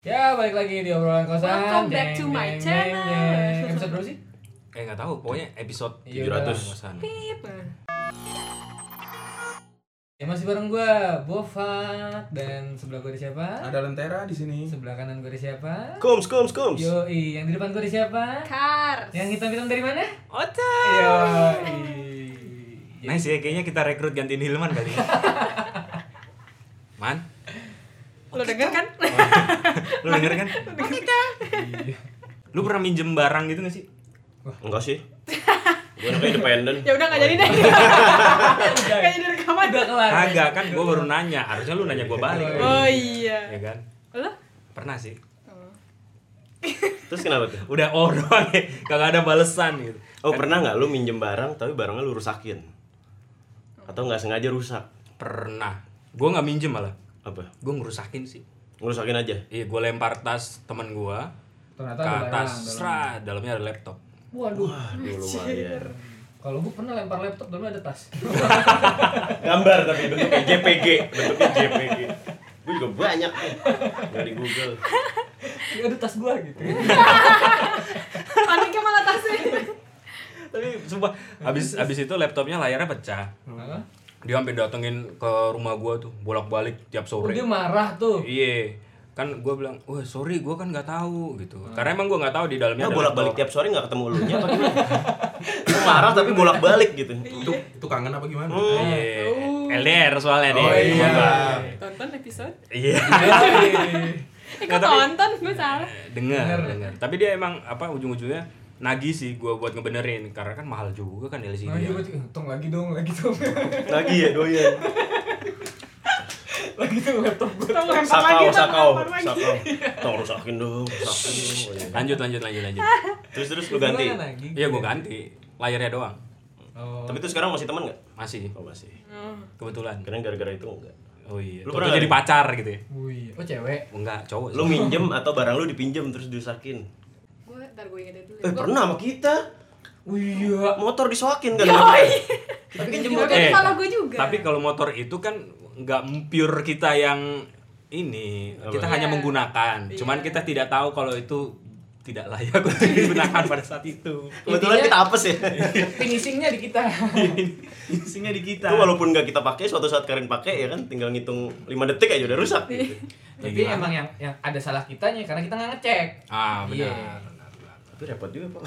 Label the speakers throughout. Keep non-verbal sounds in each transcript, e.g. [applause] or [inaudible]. Speaker 1: Ya, balik lagi di obrolan kosan.
Speaker 2: Welcome back to my channel.
Speaker 1: deng. Episode
Speaker 3: [laughs]
Speaker 1: berapa sih?
Speaker 3: Eh nggak tahu, pokoknya episode
Speaker 1: Iya,
Speaker 3: 700
Speaker 1: udah.
Speaker 3: kosan.
Speaker 2: Pip.
Speaker 1: Ya masih bareng gua, Bofat dan sebelah gua ada siapa?
Speaker 4: Ada lentera di sini.
Speaker 1: Sebelah kanan gua ada siapa?
Speaker 3: Kums, kums, kums.
Speaker 1: Yoi, yang di depan gua ada siapa?
Speaker 2: Kars.
Speaker 1: Yang hitam-hitam dari mana?
Speaker 3: Ota.
Speaker 1: Yoi.
Speaker 3: Nice ya, kayaknya kita rekrut gantiin Hilman kali. ya. Man, [laughs]
Speaker 2: Lo denger kan? [laughs]
Speaker 3: lu denger kan? Lu pernah minjem barang gitu gak sih?
Speaker 5: Enggak sih. Gue anaknya independen.
Speaker 2: ya udah nggak jadi deh. Kayaknya di rekaman.
Speaker 1: Udah kelar.
Speaker 3: Kagak kan, gue baru nanya. Harusnya lu nanya gue balik.
Speaker 2: Oh iya.
Speaker 3: Ya kan?
Speaker 2: Lo?
Speaker 3: Pernah sih.
Speaker 5: Terus kenapa tuh?
Speaker 3: Udah oh [laughs] doang ya, kagak ada balesan gitu.
Speaker 5: Oh pernah nggak lu minjem barang tapi barangnya lu rusakin? Atau nggak sengaja rusak?
Speaker 3: Pernah. Gue nggak minjem malah.
Speaker 5: Apa?
Speaker 3: Gue ngerusakin sih.
Speaker 5: Ngerusakin aja.
Speaker 3: Iya, gue lempar tas temen gue
Speaker 1: Ternyata
Speaker 3: ke
Speaker 1: ada barang.
Speaker 3: atas. Sra, dalamnya ada laptop.
Speaker 1: Waduh.
Speaker 5: Aduh lumayan.
Speaker 1: Kalau gua pernah lempar laptop dalamnya ada
Speaker 3: [laughs]
Speaker 1: tas.
Speaker 5: Gambar tapi bentuknya JPG, bentuknya JPG. Gue juga banyak nih. dari Google.
Speaker 1: Ya, ada tas gua gitu.
Speaker 3: Iya.
Speaker 2: Paniknya malah ya? tasnya.
Speaker 3: Tapi sumpah, abis, abis itu laptopnya layarnya pecah.
Speaker 1: Hah?
Speaker 3: dia sampai datengin ke rumah gua tuh bolak-balik tiap
Speaker 1: Oh,
Speaker 3: sore
Speaker 1: dia marah tuh.
Speaker 3: iya kan gua bilang wah sorry gua kan nggak tahu gitu
Speaker 1: Hmm.
Speaker 3: karena emang gua nggak tahu di dalamnya
Speaker 5: Ya
Speaker 4: Oh,
Speaker 3: ada
Speaker 5: bolak-balik
Speaker 3: laptop.
Speaker 5: tiap sore nggak ketemu lu nya apa gimana? Lu marah tapi bolak-balik gitu.
Speaker 4: Itu itu kangen apa gimana?
Speaker 3: iya
Speaker 1: Oh.
Speaker 3: LDR soalnya nih
Speaker 4: Oh, iya.
Speaker 2: Tonton episode.
Speaker 1: [laughs]
Speaker 3: iya
Speaker 2: Eh kok tonton? Gue salah.
Speaker 3: dengar dengar tapi dia emang apa ujung-ujungnya nagih sih gua buat ngebenerin karena kan mahal juga kan LCD
Speaker 1: Nah,
Speaker 3: dia.
Speaker 1: juga untung lagi dong, lagi dong.
Speaker 5: Lagi ya doyan.
Speaker 1: lagi tuh laptop gua.
Speaker 2: Tau lempar lagi,
Speaker 5: Sakau,
Speaker 2: tau
Speaker 5: sakau,
Speaker 2: lempar lagi.
Speaker 5: sakau. Tong rusakin dong, rusakin dong. oh iya.
Speaker 3: lanjut lanjut lanjut
Speaker 1: [laughs]
Speaker 3: lanjut
Speaker 5: Terus terus lu ganti.
Speaker 1: Gimana lagi?
Speaker 3: iya gua ganti layarnya doang
Speaker 1: Oh.
Speaker 5: Tapi itu sekarang masih teman nggak?
Speaker 3: masih
Speaker 5: Oh masih.
Speaker 2: Hmm.
Speaker 3: kebetulan
Speaker 5: Keren gara-gara itu enggak.
Speaker 3: oh iya lu
Speaker 5: Lu pernah
Speaker 3: jadi
Speaker 5: ada-
Speaker 3: pacar gitu ya
Speaker 1: Oh iya. Oh cewek.
Speaker 3: enggak cowok
Speaker 5: Lu minjem atau barang lu dipinjem terus dirusakin.
Speaker 2: Gue ntar gue ingetin dulu.
Speaker 5: Eh
Speaker 2: Gua-
Speaker 5: pernah sama kita.
Speaker 1: Oh iya.
Speaker 5: Motor disoakin kan. Yoi.
Speaker 1: Tapi kan
Speaker 2: Juga kan
Speaker 3: Eh,
Speaker 2: salah gue juga.
Speaker 3: Tapi kalau motor itu kan nggak pure kita yang ini, kita hanya
Speaker 2: Iya.
Speaker 3: menggunakan. Cuman
Speaker 2: Iya.
Speaker 3: kita tidak tahu kalau itu tidak layak [laughs] untuk digunakan pada saat itu.
Speaker 5: Kebetulan
Speaker 2: Iya.
Speaker 1: Intinya-
Speaker 5: kita apes ya.
Speaker 1: Finishingnya di kita.
Speaker 3: Isinya di kita.
Speaker 5: Itu walaupun nggak kita pakai suatu saat kalian pakai ya kan tinggal ngitung 5 detik aja udah rusak gitu.
Speaker 1: Tapi
Speaker 3: Iya.
Speaker 1: emang yang yang ada salah kitanya karena kita nggak ngecek.
Speaker 3: Ah, benar.
Speaker 1: Iya.
Speaker 5: Tapi repot juga, Pak.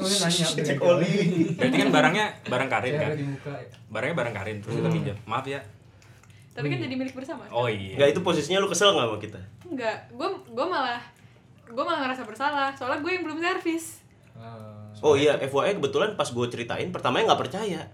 Speaker 1: Nggak nanya.
Speaker 5: Cek
Speaker 1: iya.
Speaker 5: oli.
Speaker 3: Berarti kan barangnya barang karin
Speaker 1: Cewek
Speaker 3: kan?
Speaker 1: dibuka. ya."
Speaker 3: Barangnya barang karin terus
Speaker 5: Hmm.
Speaker 3: kita pinjam. Maaf ya.
Speaker 2: Tapi kan jadi milik bersama.
Speaker 3: Oh iya.
Speaker 5: Enggak itu posisinya lu kesel nggak sama kita?
Speaker 2: Enggak. Gue gue malah gue malah ngerasa bersalah. Soalnya gue yang belum servis.
Speaker 1: Ah,
Speaker 5: Oh iya, FYI kebetulan pas gue ceritain pertamanya nggak percaya.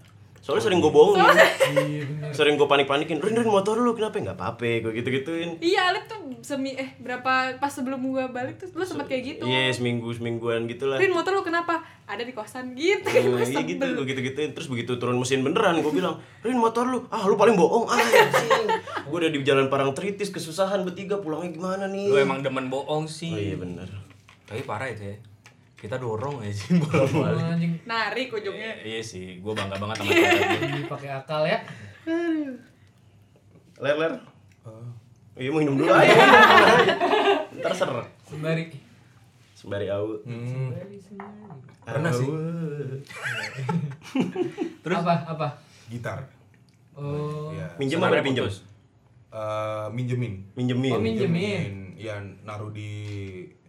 Speaker 5: Soalnya
Speaker 3: Oh,
Speaker 5: sering gue bohongin,
Speaker 1: Iya benar.
Speaker 5: sering gue panik-panikin, Rin, Rin motor lu kenapa? Nggak apa-apa, gue gitu-gituin
Speaker 2: Iya, Alip tuh semi eh berapa pas sebelum gue balik tuh lu sempet kayak gitu.
Speaker 5: Iya, seminggu-semingguan gitu lah
Speaker 2: Rin motor lu kenapa? Ada di kosan gitu. [laughs]
Speaker 5: Eh,
Speaker 2: Gue
Speaker 5: iya gitu,
Speaker 2: sebel.
Speaker 5: gue gitu-gituin Terus begitu turun mesin beneran, gue bilang Rin motor lu, ah lu paling bohong, ah
Speaker 2: [laughs]
Speaker 5: Gue udah di jalan parang tritis, kesusahan bertiga, pulangnya gimana nih
Speaker 3: Lu emang demen bohong
Speaker 5: Oh
Speaker 3: sih.
Speaker 5: iya bener
Speaker 3: Tapi parah itu ya. Kita dorong aja [laughs] sih bolak-balik.
Speaker 1: Wah, Anjing
Speaker 2: Narik ujungnya.
Speaker 3: Iya sih, gue bangga banget sama kita.
Speaker 1: dipakai akal ya.
Speaker 5: Ler, ler
Speaker 3: Oh.
Speaker 5: Iya mau minum dulu
Speaker 2: [laughs]
Speaker 5: aja Ntar ser
Speaker 1: Sembari.
Speaker 5: Sembari au
Speaker 4: Hmm.
Speaker 5: Pernah sih
Speaker 1: Terus apa? Apa?
Speaker 4: Gitar.
Speaker 1: Oh.
Speaker 4: Iya.
Speaker 5: Minjem apa
Speaker 3: Saudara
Speaker 5: pinjem?
Speaker 3: putus.
Speaker 4: Eh, minjemin.
Speaker 1: Oh,
Speaker 5: Minjemin
Speaker 1: minjemin.
Speaker 4: Iya, naruh di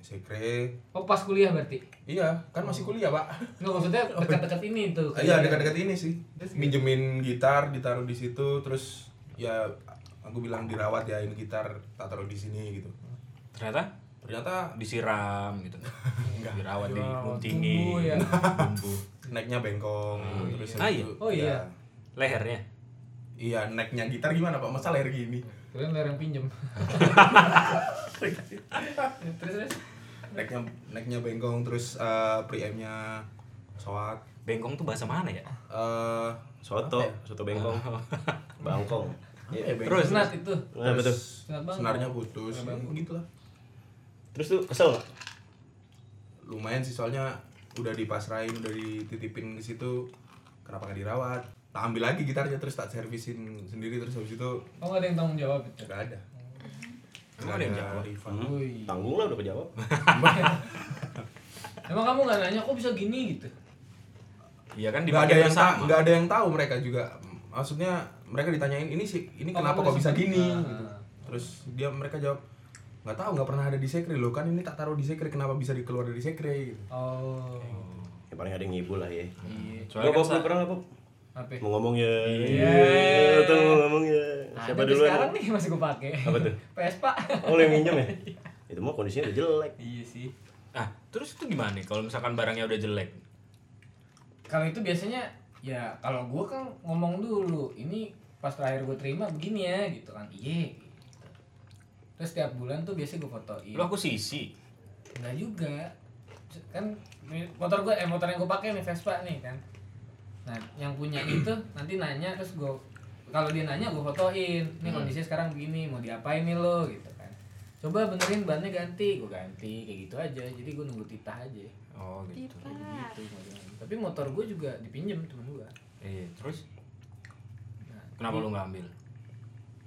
Speaker 4: sekre.
Speaker 1: Oh pas kuliah berarti.
Speaker 4: Iya, kan masih kuliah, Pak.
Speaker 1: Nggak maksudnya dekat-dekat ini tuh.
Speaker 4: Eh, Iya, dekat-dekat ini sih. Minjemin gitar, ditaruh di situ, terus ya aku bilang dirawat ya ini gitar, tak taruh di sini gitu.
Speaker 3: Ternyata
Speaker 4: Ternyata
Speaker 3: disiram gitu dirawat di guntingi
Speaker 1: Tumbuh ya.
Speaker 3: Tumbuh.
Speaker 4: necknya bengkong, terus
Speaker 3: Ah, iya.
Speaker 4: habis itu-
Speaker 1: Oh, iya.
Speaker 4: iya.
Speaker 3: lehernya
Speaker 4: Iya, necknya gitar gimana, Pak? Masa leher gini?
Speaker 1: Kalian ler yang pinjem. terus terus.
Speaker 4: Necknya necknya bengkong, terus eh, preamp-nya soat.
Speaker 3: bengkong tuh bahasa mana ya
Speaker 4: eh
Speaker 5: Soto, soto bengkong [laughs] Bangkong
Speaker 4: Iya, bengkong.
Speaker 1: Terus Nat ya, itu.
Speaker 5: Nah, betul.
Speaker 1: Senat banget.
Speaker 4: senarnya putus gitu lah
Speaker 5: Terus tuh kesel nggak?
Speaker 4: lumayan sih soalnya udah dipasrahin udah dititipin ke situ kenapa nggak dirawat tak ambil lagi gitarnya terus tak servisin sendiri terus habis itu
Speaker 1: Oh nggak ada yang tanggung jawab itu.
Speaker 4: nggak ada Hmm.
Speaker 3: Emang ada yang Kan
Speaker 4: Celana
Speaker 3: jawab?
Speaker 4: Riva.
Speaker 1: Woi.
Speaker 5: Tanggung lah udah kejawab.
Speaker 1: Emang kamu nggak nanya kok bisa gini gitu?
Speaker 3: Iya kan
Speaker 4: nggak ada
Speaker 3: dipakai
Speaker 4: yang ta-
Speaker 3: bersama.
Speaker 4: nggak ada yang tahu mereka juga maksudnya mereka ditanyain ini sih ini
Speaker 1: Oh,
Speaker 4: kenapa
Speaker 1: kamu
Speaker 4: kok bisa
Speaker 1: disebut.
Speaker 4: gini
Speaker 1: Ah.
Speaker 4: gitu. terus dia mereka jawab nggak tahu nggak pernah ada di sekre loh kan ini tak taruh di sekre kenapa bisa dikeluar dari sekre gitu.
Speaker 1: Oh.
Speaker 5: Ya paling ada yang ngibul lah ya.
Speaker 1: Iya.
Speaker 3: Soalnya
Speaker 5: Soalnya
Speaker 3: kan
Speaker 5: Bob
Speaker 3: sa-
Speaker 5: lu pernah apa?
Speaker 1: Apa?
Speaker 5: Mau ngomong ya.
Speaker 1: Eh. Iya.
Speaker 5: Tuh mau ngomong ya. Siapa
Speaker 1: Ada
Speaker 5: duluan?
Speaker 1: Nah, Sekarang nih masih gue pakai.
Speaker 5: Apa
Speaker 1: [laughs]
Speaker 5: tuh?
Speaker 1: PS Pak.
Speaker 5: Oh lu yang minjem ya? Itu mah kondisinya udah jelek.
Speaker 1: iya sih.
Speaker 3: Nah, terus itu gimana nih kalau misalkan barangnya udah jelek?
Speaker 1: Kalau itu biasanya ya kalau gue kan ngomong dulu ini pas terakhir gue terima begini ya gitu kan iya gitu. terus setiap bulan tuh biasa gue fotoin
Speaker 3: Lu aku sisi.
Speaker 1: Enggak juga. Kan motor gue eh motor yang gue pakai nih Vespa nih kan. Nah, yang punya itu nanti nanya terus gue kalau dia nanya gue fotoin. Nih kondisinya sekarang begini, mau diapain nih lo gitu kan. Coba benerin bannya ganti, gue ganti kayak gitu aja. Jadi gue nunggu titah aja.
Speaker 3: Oh, gitu.
Speaker 1: Gitu, modelnya. Tapi motor gue juga dipinjem temen gue.
Speaker 3: Iya, terus
Speaker 1: Nah,
Speaker 3: kenapa lu nggak ambil?
Speaker 2: Iya.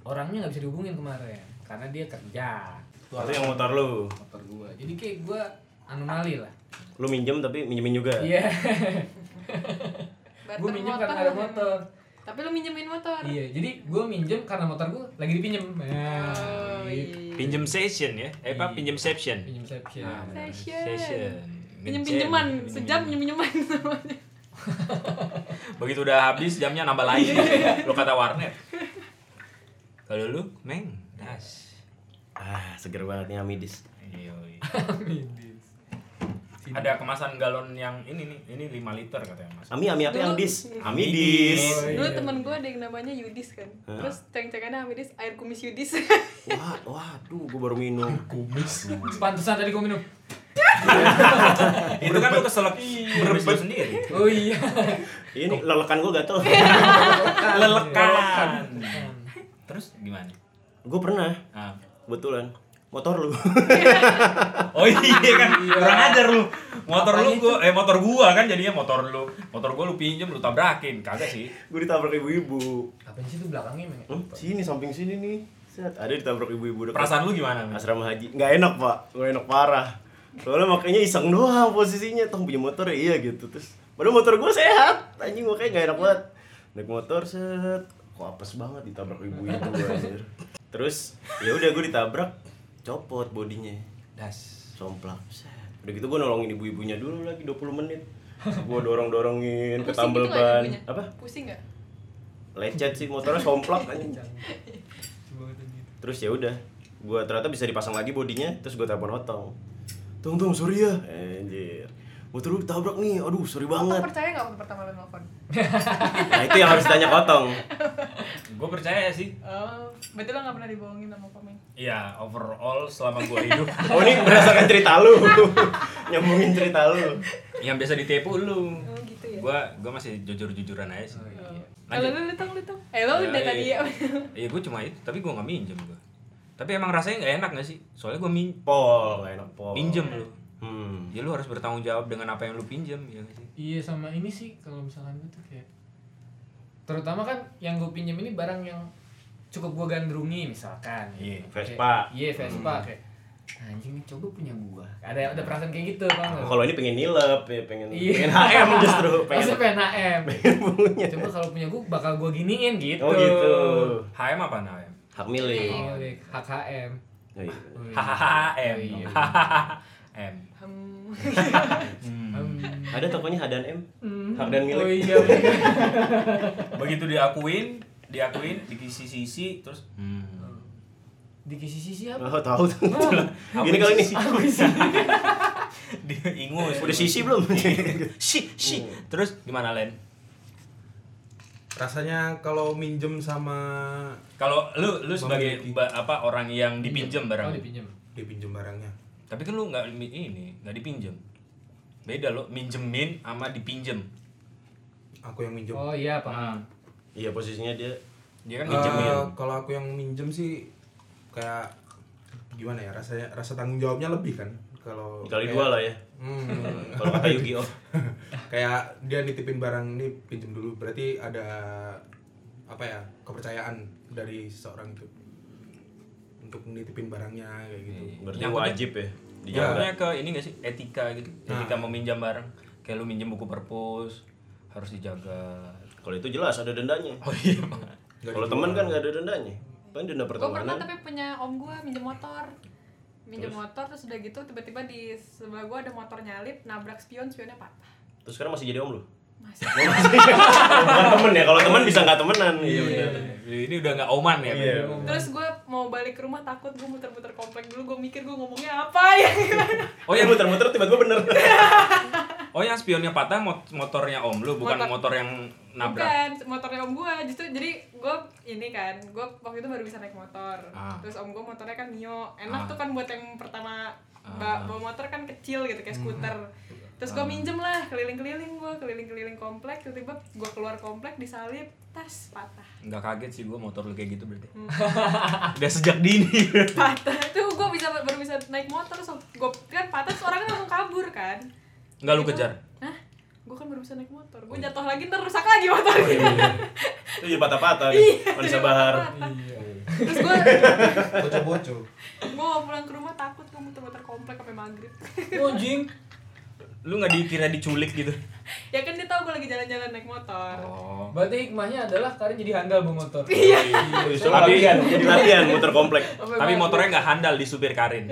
Speaker 1: orangnya nggak bisa dihubungin kemarin karena dia kerja
Speaker 5: Itu yang motor lu.
Speaker 1: motor gue. Jadi kayak gue anomali lah.
Speaker 5: Lu minjem tapi minjemin juga.
Speaker 1: Iya.
Speaker 2: Barter
Speaker 1: gue minjem karena
Speaker 2: motor.
Speaker 1: ada motor.
Speaker 2: Tapi lu minjemin motor.
Speaker 1: Iya, jadi gue minjem karena motor gue lagi dipinjem. Nah,
Speaker 2: Oh,
Speaker 1: gitu.
Speaker 2: iya.
Speaker 3: Pinjem session ya? Eh, apa
Speaker 1: Iya.
Speaker 3: pinjem seption?
Speaker 1: Pinjem ya. sepsi.
Speaker 3: Nah, benar.
Speaker 2: Session.
Speaker 3: Minjem.
Speaker 2: Pinjem pinjeman, sejam pinjem pinjeman namanya.
Speaker 3: Begitu udah habis jamnya nambah
Speaker 2: [laughs]
Speaker 3: lagi. lu kata warnet. Kalau lu, Meng, das.
Speaker 5: Ah, seger banget nih Amidis.
Speaker 3: Iya. iya.
Speaker 1: Sini.
Speaker 3: Ada kemasan galon yang ini nih, ini 5 liter katanya Mas.
Speaker 5: Ami Ami apa yang
Speaker 2: Dulu-
Speaker 5: dis? Amidis.
Speaker 3: Amidis.
Speaker 1: Iya.
Speaker 2: Dulu temen gue ada yang namanya Yudis kan.
Speaker 5: Hah?
Speaker 2: Terus ceng-cengannya Amidis air kumis Yudis.
Speaker 5: Wah, waduh, gue baru minum.
Speaker 4: kumis
Speaker 1: Pantesan tadi gue minum.
Speaker 3: Itu kan lu keselak berebut sendiri.
Speaker 1: Oh iya.
Speaker 5: Ini lelekan gue gatel.
Speaker 3: Iya. Lelekan. Terus gimana?
Speaker 5: gue pernah,
Speaker 3: Ah.
Speaker 5: kebetulan. Motor [laughs] lu.
Speaker 3: Oh iya kan, kurang ajar lu. Motor lu
Speaker 1: Apanya
Speaker 3: gua eh motor gua kan jadinya motor lu. Motor gua lu pinjem lu tabrakin, kagak sih.
Speaker 5: gue ditabrak ibu-ibu.
Speaker 1: Apa sih itu belakangnya, Meng?
Speaker 5: Hmm, sini samping sini nih. Set, ada ditabrak ibu-ibu dekat
Speaker 3: Perasaan lu gimana? Mas?
Speaker 5: asrama haji. Nggak enak, Pak. Nggak enak parah. Soalnya makanya iseng doang posisinya, tong punya motor ya, iya gitu. Terus padahal motor gue sehat. Anjing makanya nggak enak banget. Naik motor set, kok apes banget ditabrak ibu-ibu [laughs] anjir. Terus ya udah gue ditabrak, copot bodinya.
Speaker 3: Das.
Speaker 5: Somplak. Set. Udah gitu gue nolongin ibu-ibunya dulu lagi 20 [laughs] menit. Gue dorong-dorongin,
Speaker 2: Pusing
Speaker 5: ketambel
Speaker 2: gitu nggak
Speaker 5: ban.
Speaker 2: ibunya?
Speaker 5: Apa?
Speaker 2: Pusing nggak?
Speaker 5: lecet sih motornya somplak anjing. terus ya udah gua ternyata bisa dipasang lagi bodinya terus gua telepon otong tong tong sorry ya anjir motor lu tabrak nih aduh sorry
Speaker 2: Lo
Speaker 5: banget
Speaker 2: percaya nggak waktu pertama lo nelfon?
Speaker 5: nah itu yang harus tanya ke otong
Speaker 3: Gua percaya sih.
Speaker 2: Oh, berarti lo nggak pernah dibohongin sama komen.
Speaker 3: Iya, overall selama gua [laughs] hidup
Speaker 5: oh ini berdasarkan cerita lu [laughs] nyambungin cerita lu
Speaker 3: yang biasa ditipu lu. iya.
Speaker 2: Oh gitu ya.
Speaker 3: Gua gua masih jujur-jujuran aja
Speaker 2: Oh.
Speaker 3: sih.
Speaker 2: Kalau lu
Speaker 3: Lanjut.
Speaker 2: lu tong lu tong. Eh lo udah tadi ya.
Speaker 3: Iya, gua cuma itu, tapi gua nggak minjem gua. Tapi emang rasanya nggak enak gak sih? Soalnya gua min
Speaker 5: pol gak enak pol
Speaker 3: pinjem lu.
Speaker 5: hmm
Speaker 3: Ya lu harus bertanggung jawab dengan apa yang lu pinjem, ya nggak sih?
Speaker 1: Iya, sama ini sih kalau misalkan gue tuh kayak terutama kan yang gue pinjem ini barang yang cukup gue gandrungi misalkan.
Speaker 3: Iya,
Speaker 5: Vespa.
Speaker 1: Kayak-
Speaker 5: Hmm.
Speaker 1: Iya, Vespa kayak "Nah, anjing ini coba punya gua. Ada ada perasaan kayak gitu, Bang.
Speaker 5: kalau ini pengen nilep ya pengen
Speaker 1: Iya.
Speaker 5: pengen
Speaker 1: [laughs]
Speaker 5: HM justru pengen
Speaker 1: Maksudnya pengen
Speaker 5: [laughs]
Speaker 1: HM.
Speaker 5: punya
Speaker 1: Coba kalau punya gue bakal gue giniin gitu.
Speaker 5: oh gitu
Speaker 3: HM apa namanya?
Speaker 5: hak milik
Speaker 1: Oh, milik HKM.
Speaker 5: Oh, iya.
Speaker 3: HHM.
Speaker 1: Hmm. Oh, iya.
Speaker 3: HHM.
Speaker 2: Hmm.
Speaker 1: Hmm.
Speaker 5: ada tokonya Hadan M
Speaker 1: Hmm.
Speaker 5: hak dan milik
Speaker 1: Oh iya. bener.
Speaker 3: [laughs] begitu diakuin diakuin dikisi-sisi terus hmm.
Speaker 1: Di sisi-sisi apa?
Speaker 5: Oh tahu tuh. Gini kali ini.
Speaker 1: Apa sih?
Speaker 3: [laughs] diingus Hmm.
Speaker 5: Udah sisi [laughs] belum? Iya.
Speaker 3: si si terus gimana Len
Speaker 4: rasanya kalau minjem sama
Speaker 3: kalau lu lu sebagai
Speaker 4: Memiliki.
Speaker 3: ba- apa orang yang
Speaker 1: Oh,
Speaker 3: dipinjem barang
Speaker 1: dipinjem.
Speaker 4: dia pinjem barangnya
Speaker 3: tapi kan lu nggak mi- ini nggak dipinjem beda lo minjemin sama dipinjem
Speaker 4: aku yang minjem
Speaker 1: Oh iya, paham.
Speaker 5: Iya posisinya dia
Speaker 3: dia kan
Speaker 4: Eh,
Speaker 3: minjemin
Speaker 5: Ah,
Speaker 4: kalau aku yang minjem sih kayak gimana ya rasanya rasa tanggung jawabnya lebih kan kalau
Speaker 5: dikali
Speaker 4: kayak-
Speaker 5: dua lah ya.
Speaker 4: Hmm. [laughs]
Speaker 5: Kalau kata Yugi oh.
Speaker 4: kayak dia nitipin barang ini pinjem dulu berarti ada apa ya kepercayaan dari seorang itu untuk menitipin barangnya kayak gitu.
Speaker 5: Berarti
Speaker 3: Yang
Speaker 5: wajib ya dijaga.
Speaker 3: Jatuhnya ke ini gak sih etika gitu.
Speaker 4: Nah.
Speaker 3: Etika meminjam barang. Kayak lu minjem buku perpus harus dijaga. [laughs]
Speaker 5: Kalau itu jelas ada dendanya.
Speaker 3: Oh iya. Pak.
Speaker 4: Nggak
Speaker 5: Kalau
Speaker 4: dijual.
Speaker 5: teman kan nggak ada dendanya. Paling denda
Speaker 2: gue pernah
Speaker 5: pertemanan.
Speaker 2: tapi punya om gue minjem motor minjem motor terus udah gitu tiba-tiba di sebelah gue ada motor nyalip nabrak spion spionnya patah
Speaker 5: Terus sekarang masih jadi om lu. Oh,
Speaker 2: masih
Speaker 5: [laughs] Bukan temen ya. Kalau temen bisa nggak temenan. Iya benar.
Speaker 3: Ini udah nggak oman ya.
Speaker 5: Iya.
Speaker 2: terus gue mau balik ke rumah takut gue muter-muter komplek dulu gue mikir gue ngomongnya apa ya
Speaker 3: Oh
Speaker 5: Oh
Speaker 3: yang
Speaker 5: yang muter-muter tiba-tiba [laughs] bener.
Speaker 3: oh yang spionnya patah mot- motornya om lu bukan motor,
Speaker 2: Motor.
Speaker 3: yang nabrak.
Speaker 2: bukan motornya om gue justru jadi gue ini kan gue waktu itu baru bisa naik motor
Speaker 3: Ah.
Speaker 2: terus om gue motornya kan mio enak
Speaker 3: Ah.
Speaker 2: tuh kan buat yang pertama
Speaker 3: Ah. Hmm.
Speaker 2: ba- bawa motor kan kecil gitu kayak skuter terus gue minjem lah keliling-keliling gue keliling-keliling komplek tiba-tiba gue keluar komplek disalip tas patah
Speaker 3: Nggak kaget sih gua motor lu kayak gitu berarti. [laughs] udah sejak dini. [laughs]
Speaker 2: patah tuh gue bisa baru bisa naik motor so gue kan patah terus orangnya langsung kabur kan
Speaker 3: Nggak lu
Speaker 2: Jadi gua-
Speaker 3: kejar?
Speaker 2: Hah? gue kan baru bisa naik motor gue jatuh lagi ntar rusak lagi motornya
Speaker 5: Itu jadi patah-patah.
Speaker 2: Iya.
Speaker 5: nih, Manusia bahar.
Speaker 2: patah-patah.
Speaker 1: Iya.
Speaker 2: terus gue
Speaker 4: Boco-boco.
Speaker 2: gue mau pulang ke rumah takut gue muter-muter komplek sampai maghrib [laughs]
Speaker 1: Anjing.
Speaker 3: Lu nggak dikira diculik
Speaker 5: [laughs]
Speaker 3: gitu?
Speaker 2: ya kan dia tahu gue lagi jalan-jalan naik motor
Speaker 3: Oh.
Speaker 1: Berarti hikmahnya adalah kalian jadi handal bawa motor.
Speaker 2: iya
Speaker 5: Justru latihan. Jadi [laughs] latihan muter komplek.
Speaker 3: Tapi motornya nggak handal di supir Karin.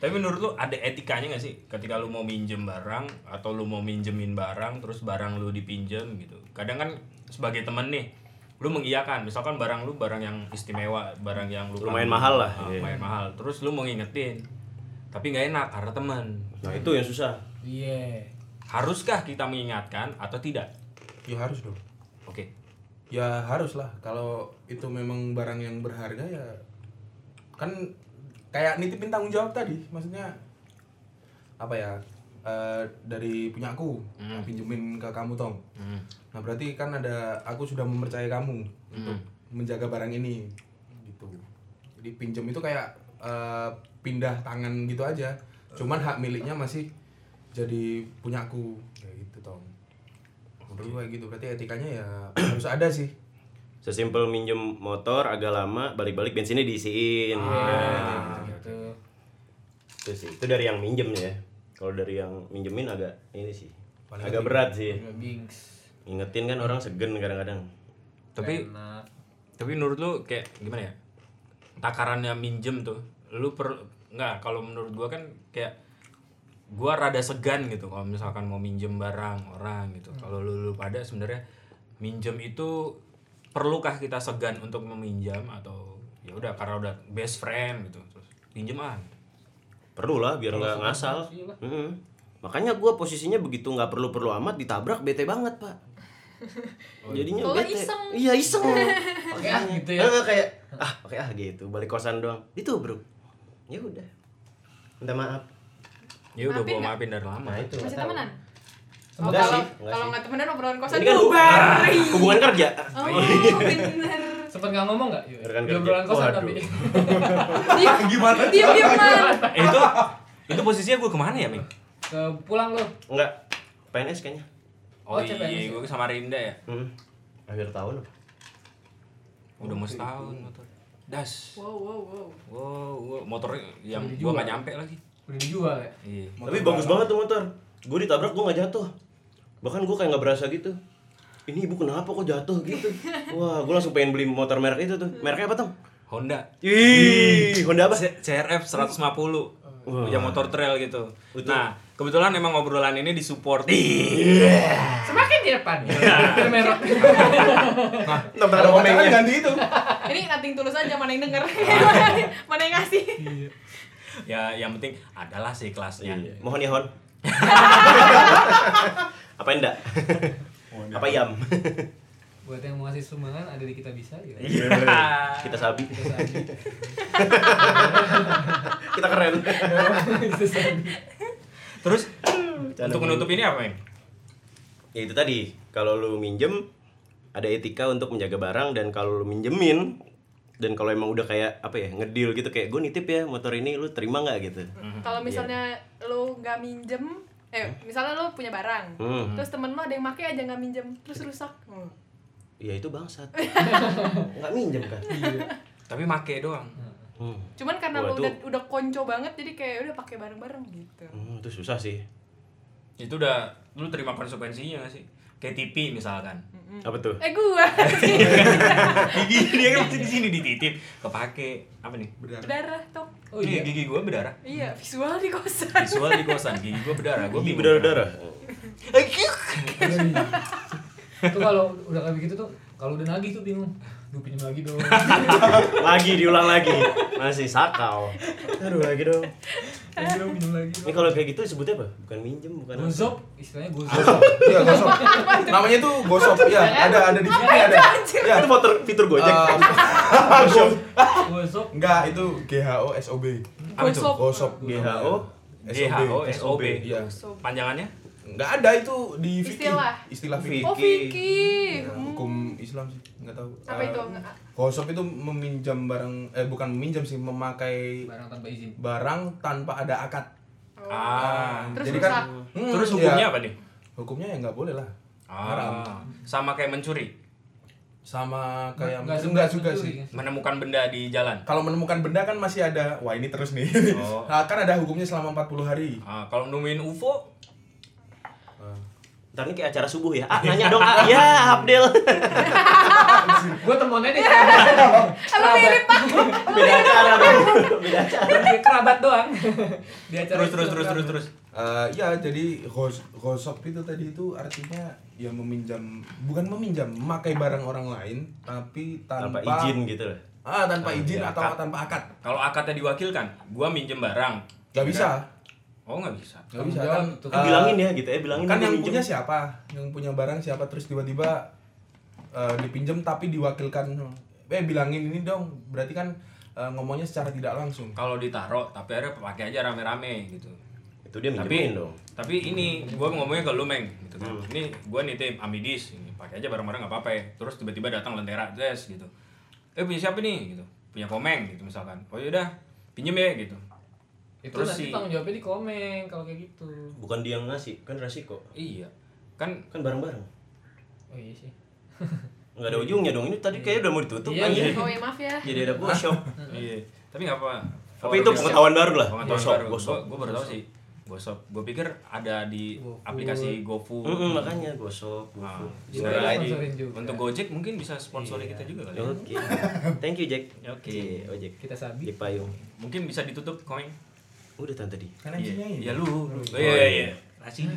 Speaker 3: Tapi menurut lu ada etikanya nggak sih ketika lu mau minjem barang atau lu mau minjemin barang terus barang lu dipinjem gitu. Kadang kan sebagai temen nih lu mengiyakan misalkan barang lu barang yang istimewa barang yang lu
Speaker 5: Lumayan mahal lah,
Speaker 3: Ah,
Speaker 5: iya.
Speaker 3: lumayan mahal terus lu mau ngingetin tapi nggak enak karena teman
Speaker 5: Nah itu yang susah.
Speaker 1: Iya.
Speaker 3: haruskah kita mengingatkan atau tidak
Speaker 4: Ya harus dong.
Speaker 3: oke
Speaker 4: Ya harus lah. Kalau itu memang barang yang berharga ya kan kayak nitipin tanggung jawab tadi. Maksudnya apa ya? eh, dari punya aku pinjemin ke kamu tong.
Speaker 3: Hmm.
Speaker 4: Nah berarti kan ada aku sudah mempercayai kamu untuk menjaga barang ini gitu. Jadi pinjam itu kayak eh, pindah tangan gitu aja. Cuman hak miliknya masih jadi punya aku kayak gitu tong. Menurut gue gitu berarti etikanya ya [clears throat] harus ada sih.
Speaker 5: Sesimpel minjem motor agak lama balik-balik bensinnya diisiin. Nah,
Speaker 1: Gitu.
Speaker 5: itu sih. Itu dari yang minjem ya. Kalau dari yang minjemin agak ini sih.
Speaker 4: Paling
Speaker 5: agak
Speaker 4: penting.
Speaker 5: berat sih.
Speaker 1: Bings.
Speaker 5: Ingetin kan orang segen kadang-kadang.
Speaker 3: tapi
Speaker 1: Enak.
Speaker 3: tapi menurut lu kayak gimana ya takarannya minjem tuh lu per nggak kalau menurut gua kan kayak gua rada segan gitu kalau misalkan mau minjem barang orang
Speaker 5: Hmm.
Speaker 3: gitu kalau lu, lu pada sebenarnya minjem itu perlukah kita segan untuk meminjam atau ya udah karena udah best friend gitu terus pinjem ah
Speaker 5: Perlu lah biar nggak ngasal. Mm-mm. Makanya gua posisinya begitu nggak perlu-perlu amat ditabrak bete banget [laughs] pak. Jadinya
Speaker 2: Kalau
Speaker 5: bete.
Speaker 2: iseng.
Speaker 5: Iya
Speaker 2: [laughs]
Speaker 5: iseng.
Speaker 1: Oke ah gitu ya.
Speaker 5: Eh, kayak ah oke ah gitu balik kosan doang. Itu bro. Ya udah. Minta maaf.
Speaker 3: ya udah
Speaker 2: Maafin
Speaker 3: gua
Speaker 2: nggak?
Speaker 3: maafin dari lama
Speaker 5: Nah itu.
Speaker 2: masih
Speaker 5: nggak tahu.
Speaker 2: temenan Oh,
Speaker 5: Enggak
Speaker 2: kalau
Speaker 5: sih,
Speaker 2: kalau
Speaker 5: enggak sih.
Speaker 2: nggak temenan obrolan kosan
Speaker 5: Ini kan hu-
Speaker 2: bubar
Speaker 5: hubungan kerja.
Speaker 2: oh bener
Speaker 1: Sempet nggak ngomong nggak? Yuk,
Speaker 5: Rekan
Speaker 1: Dia
Speaker 5: kerja.
Speaker 1: obrolan kosan
Speaker 5: Waduh.
Speaker 1: tapi.
Speaker 2: gimana diam diaman
Speaker 3: eh, itu itu posisinya gua kemana ya Ming?
Speaker 1: Ke pulang lu.
Speaker 5: Enggak. PNS kayaknya.
Speaker 3: Oh,
Speaker 1: Oh,
Speaker 3: iya,
Speaker 1: CPNS ya?
Speaker 3: gua sama Rinda ya.
Speaker 5: Hmm. Akhir tahun apa?
Speaker 3: Udah
Speaker 5: Oh,
Speaker 3: mau setahun motor. Das.
Speaker 2: wow wow wow
Speaker 3: Wow, wow, motor
Speaker 1: Udah
Speaker 3: yang gua
Speaker 1: dijual.
Speaker 3: nggak nyampe lagi.
Speaker 1: Udah dijual ya.
Speaker 3: Iya.
Speaker 5: Tapi bagus banget tuh motor. Gue ditabrak gue nggak jatuh. Bahkan gue kayak nggak berasa gitu. Ini ibu kenapa kok jatuh [laughs] gitu? Wah, gue langsung pengen beli motor merek itu tuh. Mereknya apa, Tong?
Speaker 3: Honda
Speaker 5: Hmm. Ih, Honda apa?
Speaker 3: C- CRF 150.
Speaker 5: Wah.
Speaker 3: Yang motor trail gitu. Nah, kebetulan emang obrolan ini disupport.
Speaker 5: Iya.
Speaker 1: Semakin di depan. Merah.
Speaker 5: Entar ada
Speaker 4: Kalau pacaran
Speaker 5: komennya.
Speaker 4: ganti itu.
Speaker 2: ini nating tulus aja mana yang denger [laughs] mana yang ngasih
Speaker 3: ya, yang penting adalah sih kelasnya.
Speaker 5: Iya. Mohon ya, [laughs] Hon. apa enggak? apa yam?
Speaker 1: Buat yang mau ngasih sumbangan ada di kita bisa gitu.
Speaker 3: Iya.
Speaker 5: Kita sabi.
Speaker 1: Terus Abi. [laughs]
Speaker 5: Kita keren. [laughs]
Speaker 1: Terus Abi.
Speaker 3: Terus untuk menutup ini apa, Ming?
Speaker 5: ya itu tadi kalau lu minjem ada etika untuk menjaga barang dan kalau lu minjemin dan kalau emang udah kayak apa ya ngedil gitu kayak gue nitip ya motor ini lu terima nggak gitu
Speaker 2: kalau misalnya lo nggak minjem eh misalnya lo punya barang
Speaker 5: Hmm.
Speaker 2: terus temen lo ada yang pakai aja nggak minjem terus rusak Hmm.
Speaker 5: ya itu bangsat nggak minjem kan
Speaker 3: tapi make doang
Speaker 5: Hmm.
Speaker 2: Cuman karena
Speaker 5: Wah,
Speaker 2: lu
Speaker 5: itu-
Speaker 2: udah udah konco banget jadi kayak udah pakai bareng-bareng gitu.
Speaker 5: Hmm, itu susah sih.
Speaker 3: itu udah lu terima konsekuensinya gak sih kayak TV
Speaker 5: [laughs]
Speaker 3: misalkan
Speaker 5: Apa tuh?
Speaker 2: Eh gua [laughs]
Speaker 3: gigi dia kan waktu di sini dititip kepake apa nih
Speaker 4: Benar.
Speaker 2: berdarah tok.
Speaker 1: Oh iya.
Speaker 3: Iya, gigi gua berdarah
Speaker 2: Iya, visual di kosan.
Speaker 3: visual di kosan gigi gua berdarah gua
Speaker 5: Gigi
Speaker 3: bingung.
Speaker 5: berdarah-darah.
Speaker 1: [laughs] Itu kalau udah kayak begitu tuh kalau udah nagih tuh bingung. Duh pinjam lagi
Speaker 2: [laughs]
Speaker 1: dong.
Speaker 5: [laughs] lagi diulang lagi. Masih sakau. Aduh lagi dong.
Speaker 1: Pinjam dong, gitu, pinjam lagi.
Speaker 5: Ini kalau kayak gitu sebutnya apa? Bukan minjem, bukan apa.
Speaker 1: Gozop, istilahnya
Speaker 4: Gosok.
Speaker 1: gozop.
Speaker 4: Iya,
Speaker 2: [laughs]
Speaker 4: gosok. Namanya tuh gosok. Iya, ada ada di sini ada. Iya.
Speaker 5: Ya, Itu motor fitur Gojek.
Speaker 4: Eh,
Speaker 2: [laughs]
Speaker 5: Gojek.
Speaker 1: Gozop.
Speaker 4: Enggak, itu GHO SOB.
Speaker 3: Apa tuh?
Speaker 2: Gosok.
Speaker 4: Gosok
Speaker 5: GHO?
Speaker 3: GHO SOB
Speaker 4: Iya.
Speaker 2: Sob.
Speaker 3: panjangannya
Speaker 4: Enggak ada itu di fikih.
Speaker 2: Istilah.
Speaker 4: Istilah fikih.
Speaker 2: Oh, Vicky. Hmm.
Speaker 4: Ya, hukum Islam sih, enggak tahu.
Speaker 2: Apa
Speaker 4: Eh,
Speaker 2: itu?
Speaker 4: Gosok itu meminjam barang eh bukan meminjam sih, memakai
Speaker 1: Barang tanpa izin.
Speaker 4: barang tanpa ada akad.
Speaker 2: Oh.
Speaker 3: ah
Speaker 2: Terus
Speaker 4: Jadi
Speaker 2: rusak.
Speaker 4: kan Hmm,
Speaker 3: terus
Speaker 4: iya.
Speaker 3: hukumnya apa nih
Speaker 4: Hukumnya ya nggak boleh lah. Haram.
Speaker 3: ah sama kayak mencuri
Speaker 4: Sama kayak
Speaker 1: Nggak ya.
Speaker 4: enggak,
Speaker 1: sebelah
Speaker 4: juga
Speaker 1: mencuri.
Speaker 4: sih.
Speaker 3: menemukan benda di jalan
Speaker 4: Kalau menemukan benda kan masih ada, wah ini terus nih.
Speaker 3: Oh.
Speaker 4: [laughs] Nah, kan ada hukumnya selama 40 hari.
Speaker 3: ah, kalau nemuin UFO
Speaker 5: Ah. Ntar ini kayak acara subuh ya. Ah, nanya dong. Ah, ya, Abdel.
Speaker 1: [laughs] Gua temennya
Speaker 2: [laughs]
Speaker 1: nih.
Speaker 2: Apa mirip Pak?
Speaker 5: Beda acara dong. Beda acara.
Speaker 1: Di kerabat
Speaker 2: [laughs]
Speaker 1: doang. Di acara
Speaker 3: terus
Speaker 1: itu kan. doang
Speaker 3: terus terus terus
Speaker 1: kerabat.
Speaker 3: terus
Speaker 4: Eh, ya jadi gos- gosok itu tadi itu artinya ya meminjam bukan meminjam memakai barang orang lain tapi tanpa,
Speaker 5: Tanpa izin gitu loh.
Speaker 4: ah
Speaker 5: Ah,
Speaker 4: tanpa izin
Speaker 5: iya,
Speaker 4: atau
Speaker 5: akad.
Speaker 4: tanpa akad
Speaker 3: kalau akadnya diwakilkan gua minjem barang Iya
Speaker 4: nggak
Speaker 5: Iya
Speaker 4: bisa
Speaker 3: oh nggak bisa
Speaker 4: nggak bisa
Speaker 1: Tanggung
Speaker 4: kan,
Speaker 1: jawab tuh.
Speaker 5: Kan
Speaker 4: eh,
Speaker 5: bilangin ya gitu ya, bilangin
Speaker 4: kan
Speaker 5: gua
Speaker 4: yang
Speaker 5: minjem.
Speaker 4: punya siapa yang punya barang siapa terus tiba-tiba eh, dipinjam tapi diwakilkan
Speaker 3: Hmm.
Speaker 4: eh bilangin ini dong berarti kan eh, ngomongnya secara tidak langsung
Speaker 3: kalau ditaruh tapi akhirnya pakai aja rame-rame gitu
Speaker 5: Itu dia
Speaker 3: tapi
Speaker 5: minjemin dong. Hmm.
Speaker 3: tapi ini gua ngomongnya ke lu meng gitu kan ini gua nitip amidis ini pakai aja barang-barang nggak apa-apa ya. terus tiba-tiba datang lentera des gitu eh punya siapa nih gitu punya komeng gitu misalkan oh yaudah pinjem ya gitu
Speaker 1: Itu kan
Speaker 3: Terus
Speaker 1: nanti
Speaker 3: si-
Speaker 1: tanggung jawabnya di komen kalau kayak gitu.
Speaker 5: Bukan dia yang ngasih, kan resiko.
Speaker 3: iya kan
Speaker 5: Kan bareng-bareng.
Speaker 1: Oh iya sih.
Speaker 5: Enggak ada ujungnya dong. Ini tadi kayaknya udah mau ditutup
Speaker 1: Iya,
Speaker 5: anjing.
Speaker 2: Oh ya maaf ya.
Speaker 5: Jadi ada workshop.
Speaker 3: iya tapi nggak apa
Speaker 5: Tapi itu pengetahuan baru lah.
Speaker 3: pengetahuan
Speaker 5: Gosok,
Speaker 3: baru
Speaker 5: gosok.
Speaker 3: gua gua baru tahu sih gosok gua pikir ada di
Speaker 1: GoFood.
Speaker 3: aplikasi GoFood
Speaker 5: Mm-mm, makanya gosok.
Speaker 3: Nah,
Speaker 5: gosok.
Speaker 1: Jadi
Speaker 3: sekali
Speaker 1: ada
Speaker 3: lagi
Speaker 1: sponsorin juga.
Speaker 3: untuk Gojek mungkin bisa sponsori kita juga kali. ya.
Speaker 5: Oke. Thank you, Jack.
Speaker 3: Oke.
Speaker 5: Ojek.
Speaker 1: Kita sabi.
Speaker 5: Di payung.
Speaker 3: Mungkin bisa ditutup koin.
Speaker 5: Udah tante tadi.
Speaker 4: kan
Speaker 3: Iya,
Speaker 4: anjingnya ini.
Speaker 3: iya lu. lu. Oh, iya iya. Kasih.
Speaker 5: Ini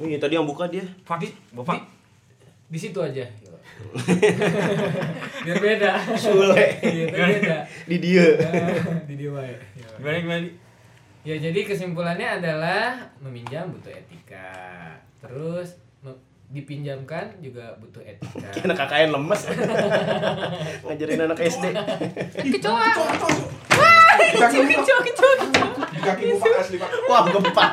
Speaker 5: Oh, iya, tadi yang buka dia.
Speaker 3: Fuck, bapak.
Speaker 1: Di situ aja. Biar beda.
Speaker 5: Sule.
Speaker 1: Iya, biar beda.
Speaker 5: Di dia.
Speaker 1: Eh, Di dia wae. Ya.
Speaker 3: Gimana gimana? Di?
Speaker 1: Ya jadi kesimpulannya adalah meminjam butuh etika. Terus me- dipinjamkan juga butuh etika.
Speaker 5: Anak KKN lemes. Ngajarin anak SD.
Speaker 2: Eh, kecoa.
Speaker 3: iya.
Speaker 4: Kaki
Speaker 2: Kecoa, [laughs] kecoa, kecoa.
Speaker 4: kaki Pak, asli Pak.
Speaker 5: Wah, gempar.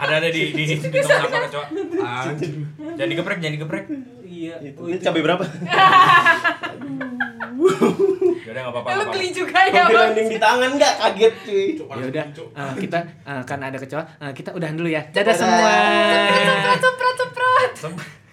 Speaker 3: Ada ada di di di tengah apa kecoa?
Speaker 4: Anjing.
Speaker 3: Jangan digeprek, jangan digeprek.
Speaker 1: Iya. Oh,
Speaker 5: Ini
Speaker 1: itu.
Speaker 5: cabai
Speaker 1: [laughs]
Speaker 5: berapa?
Speaker 3: Ya udah enggak apa-apa.
Speaker 2: Eh, Lu
Speaker 3: nggak apa-apa.
Speaker 2: geli juga ya,
Speaker 5: Tapi
Speaker 2: Bang.
Speaker 5: landing di tangan enggak kaget cuy.
Speaker 6: ya udah eh, kita eh, karena ada kecoa eh, kita udahan dulu ya dadah semua
Speaker 2: Cepret, cepret, cepret, cepret.
Speaker 3: Sem-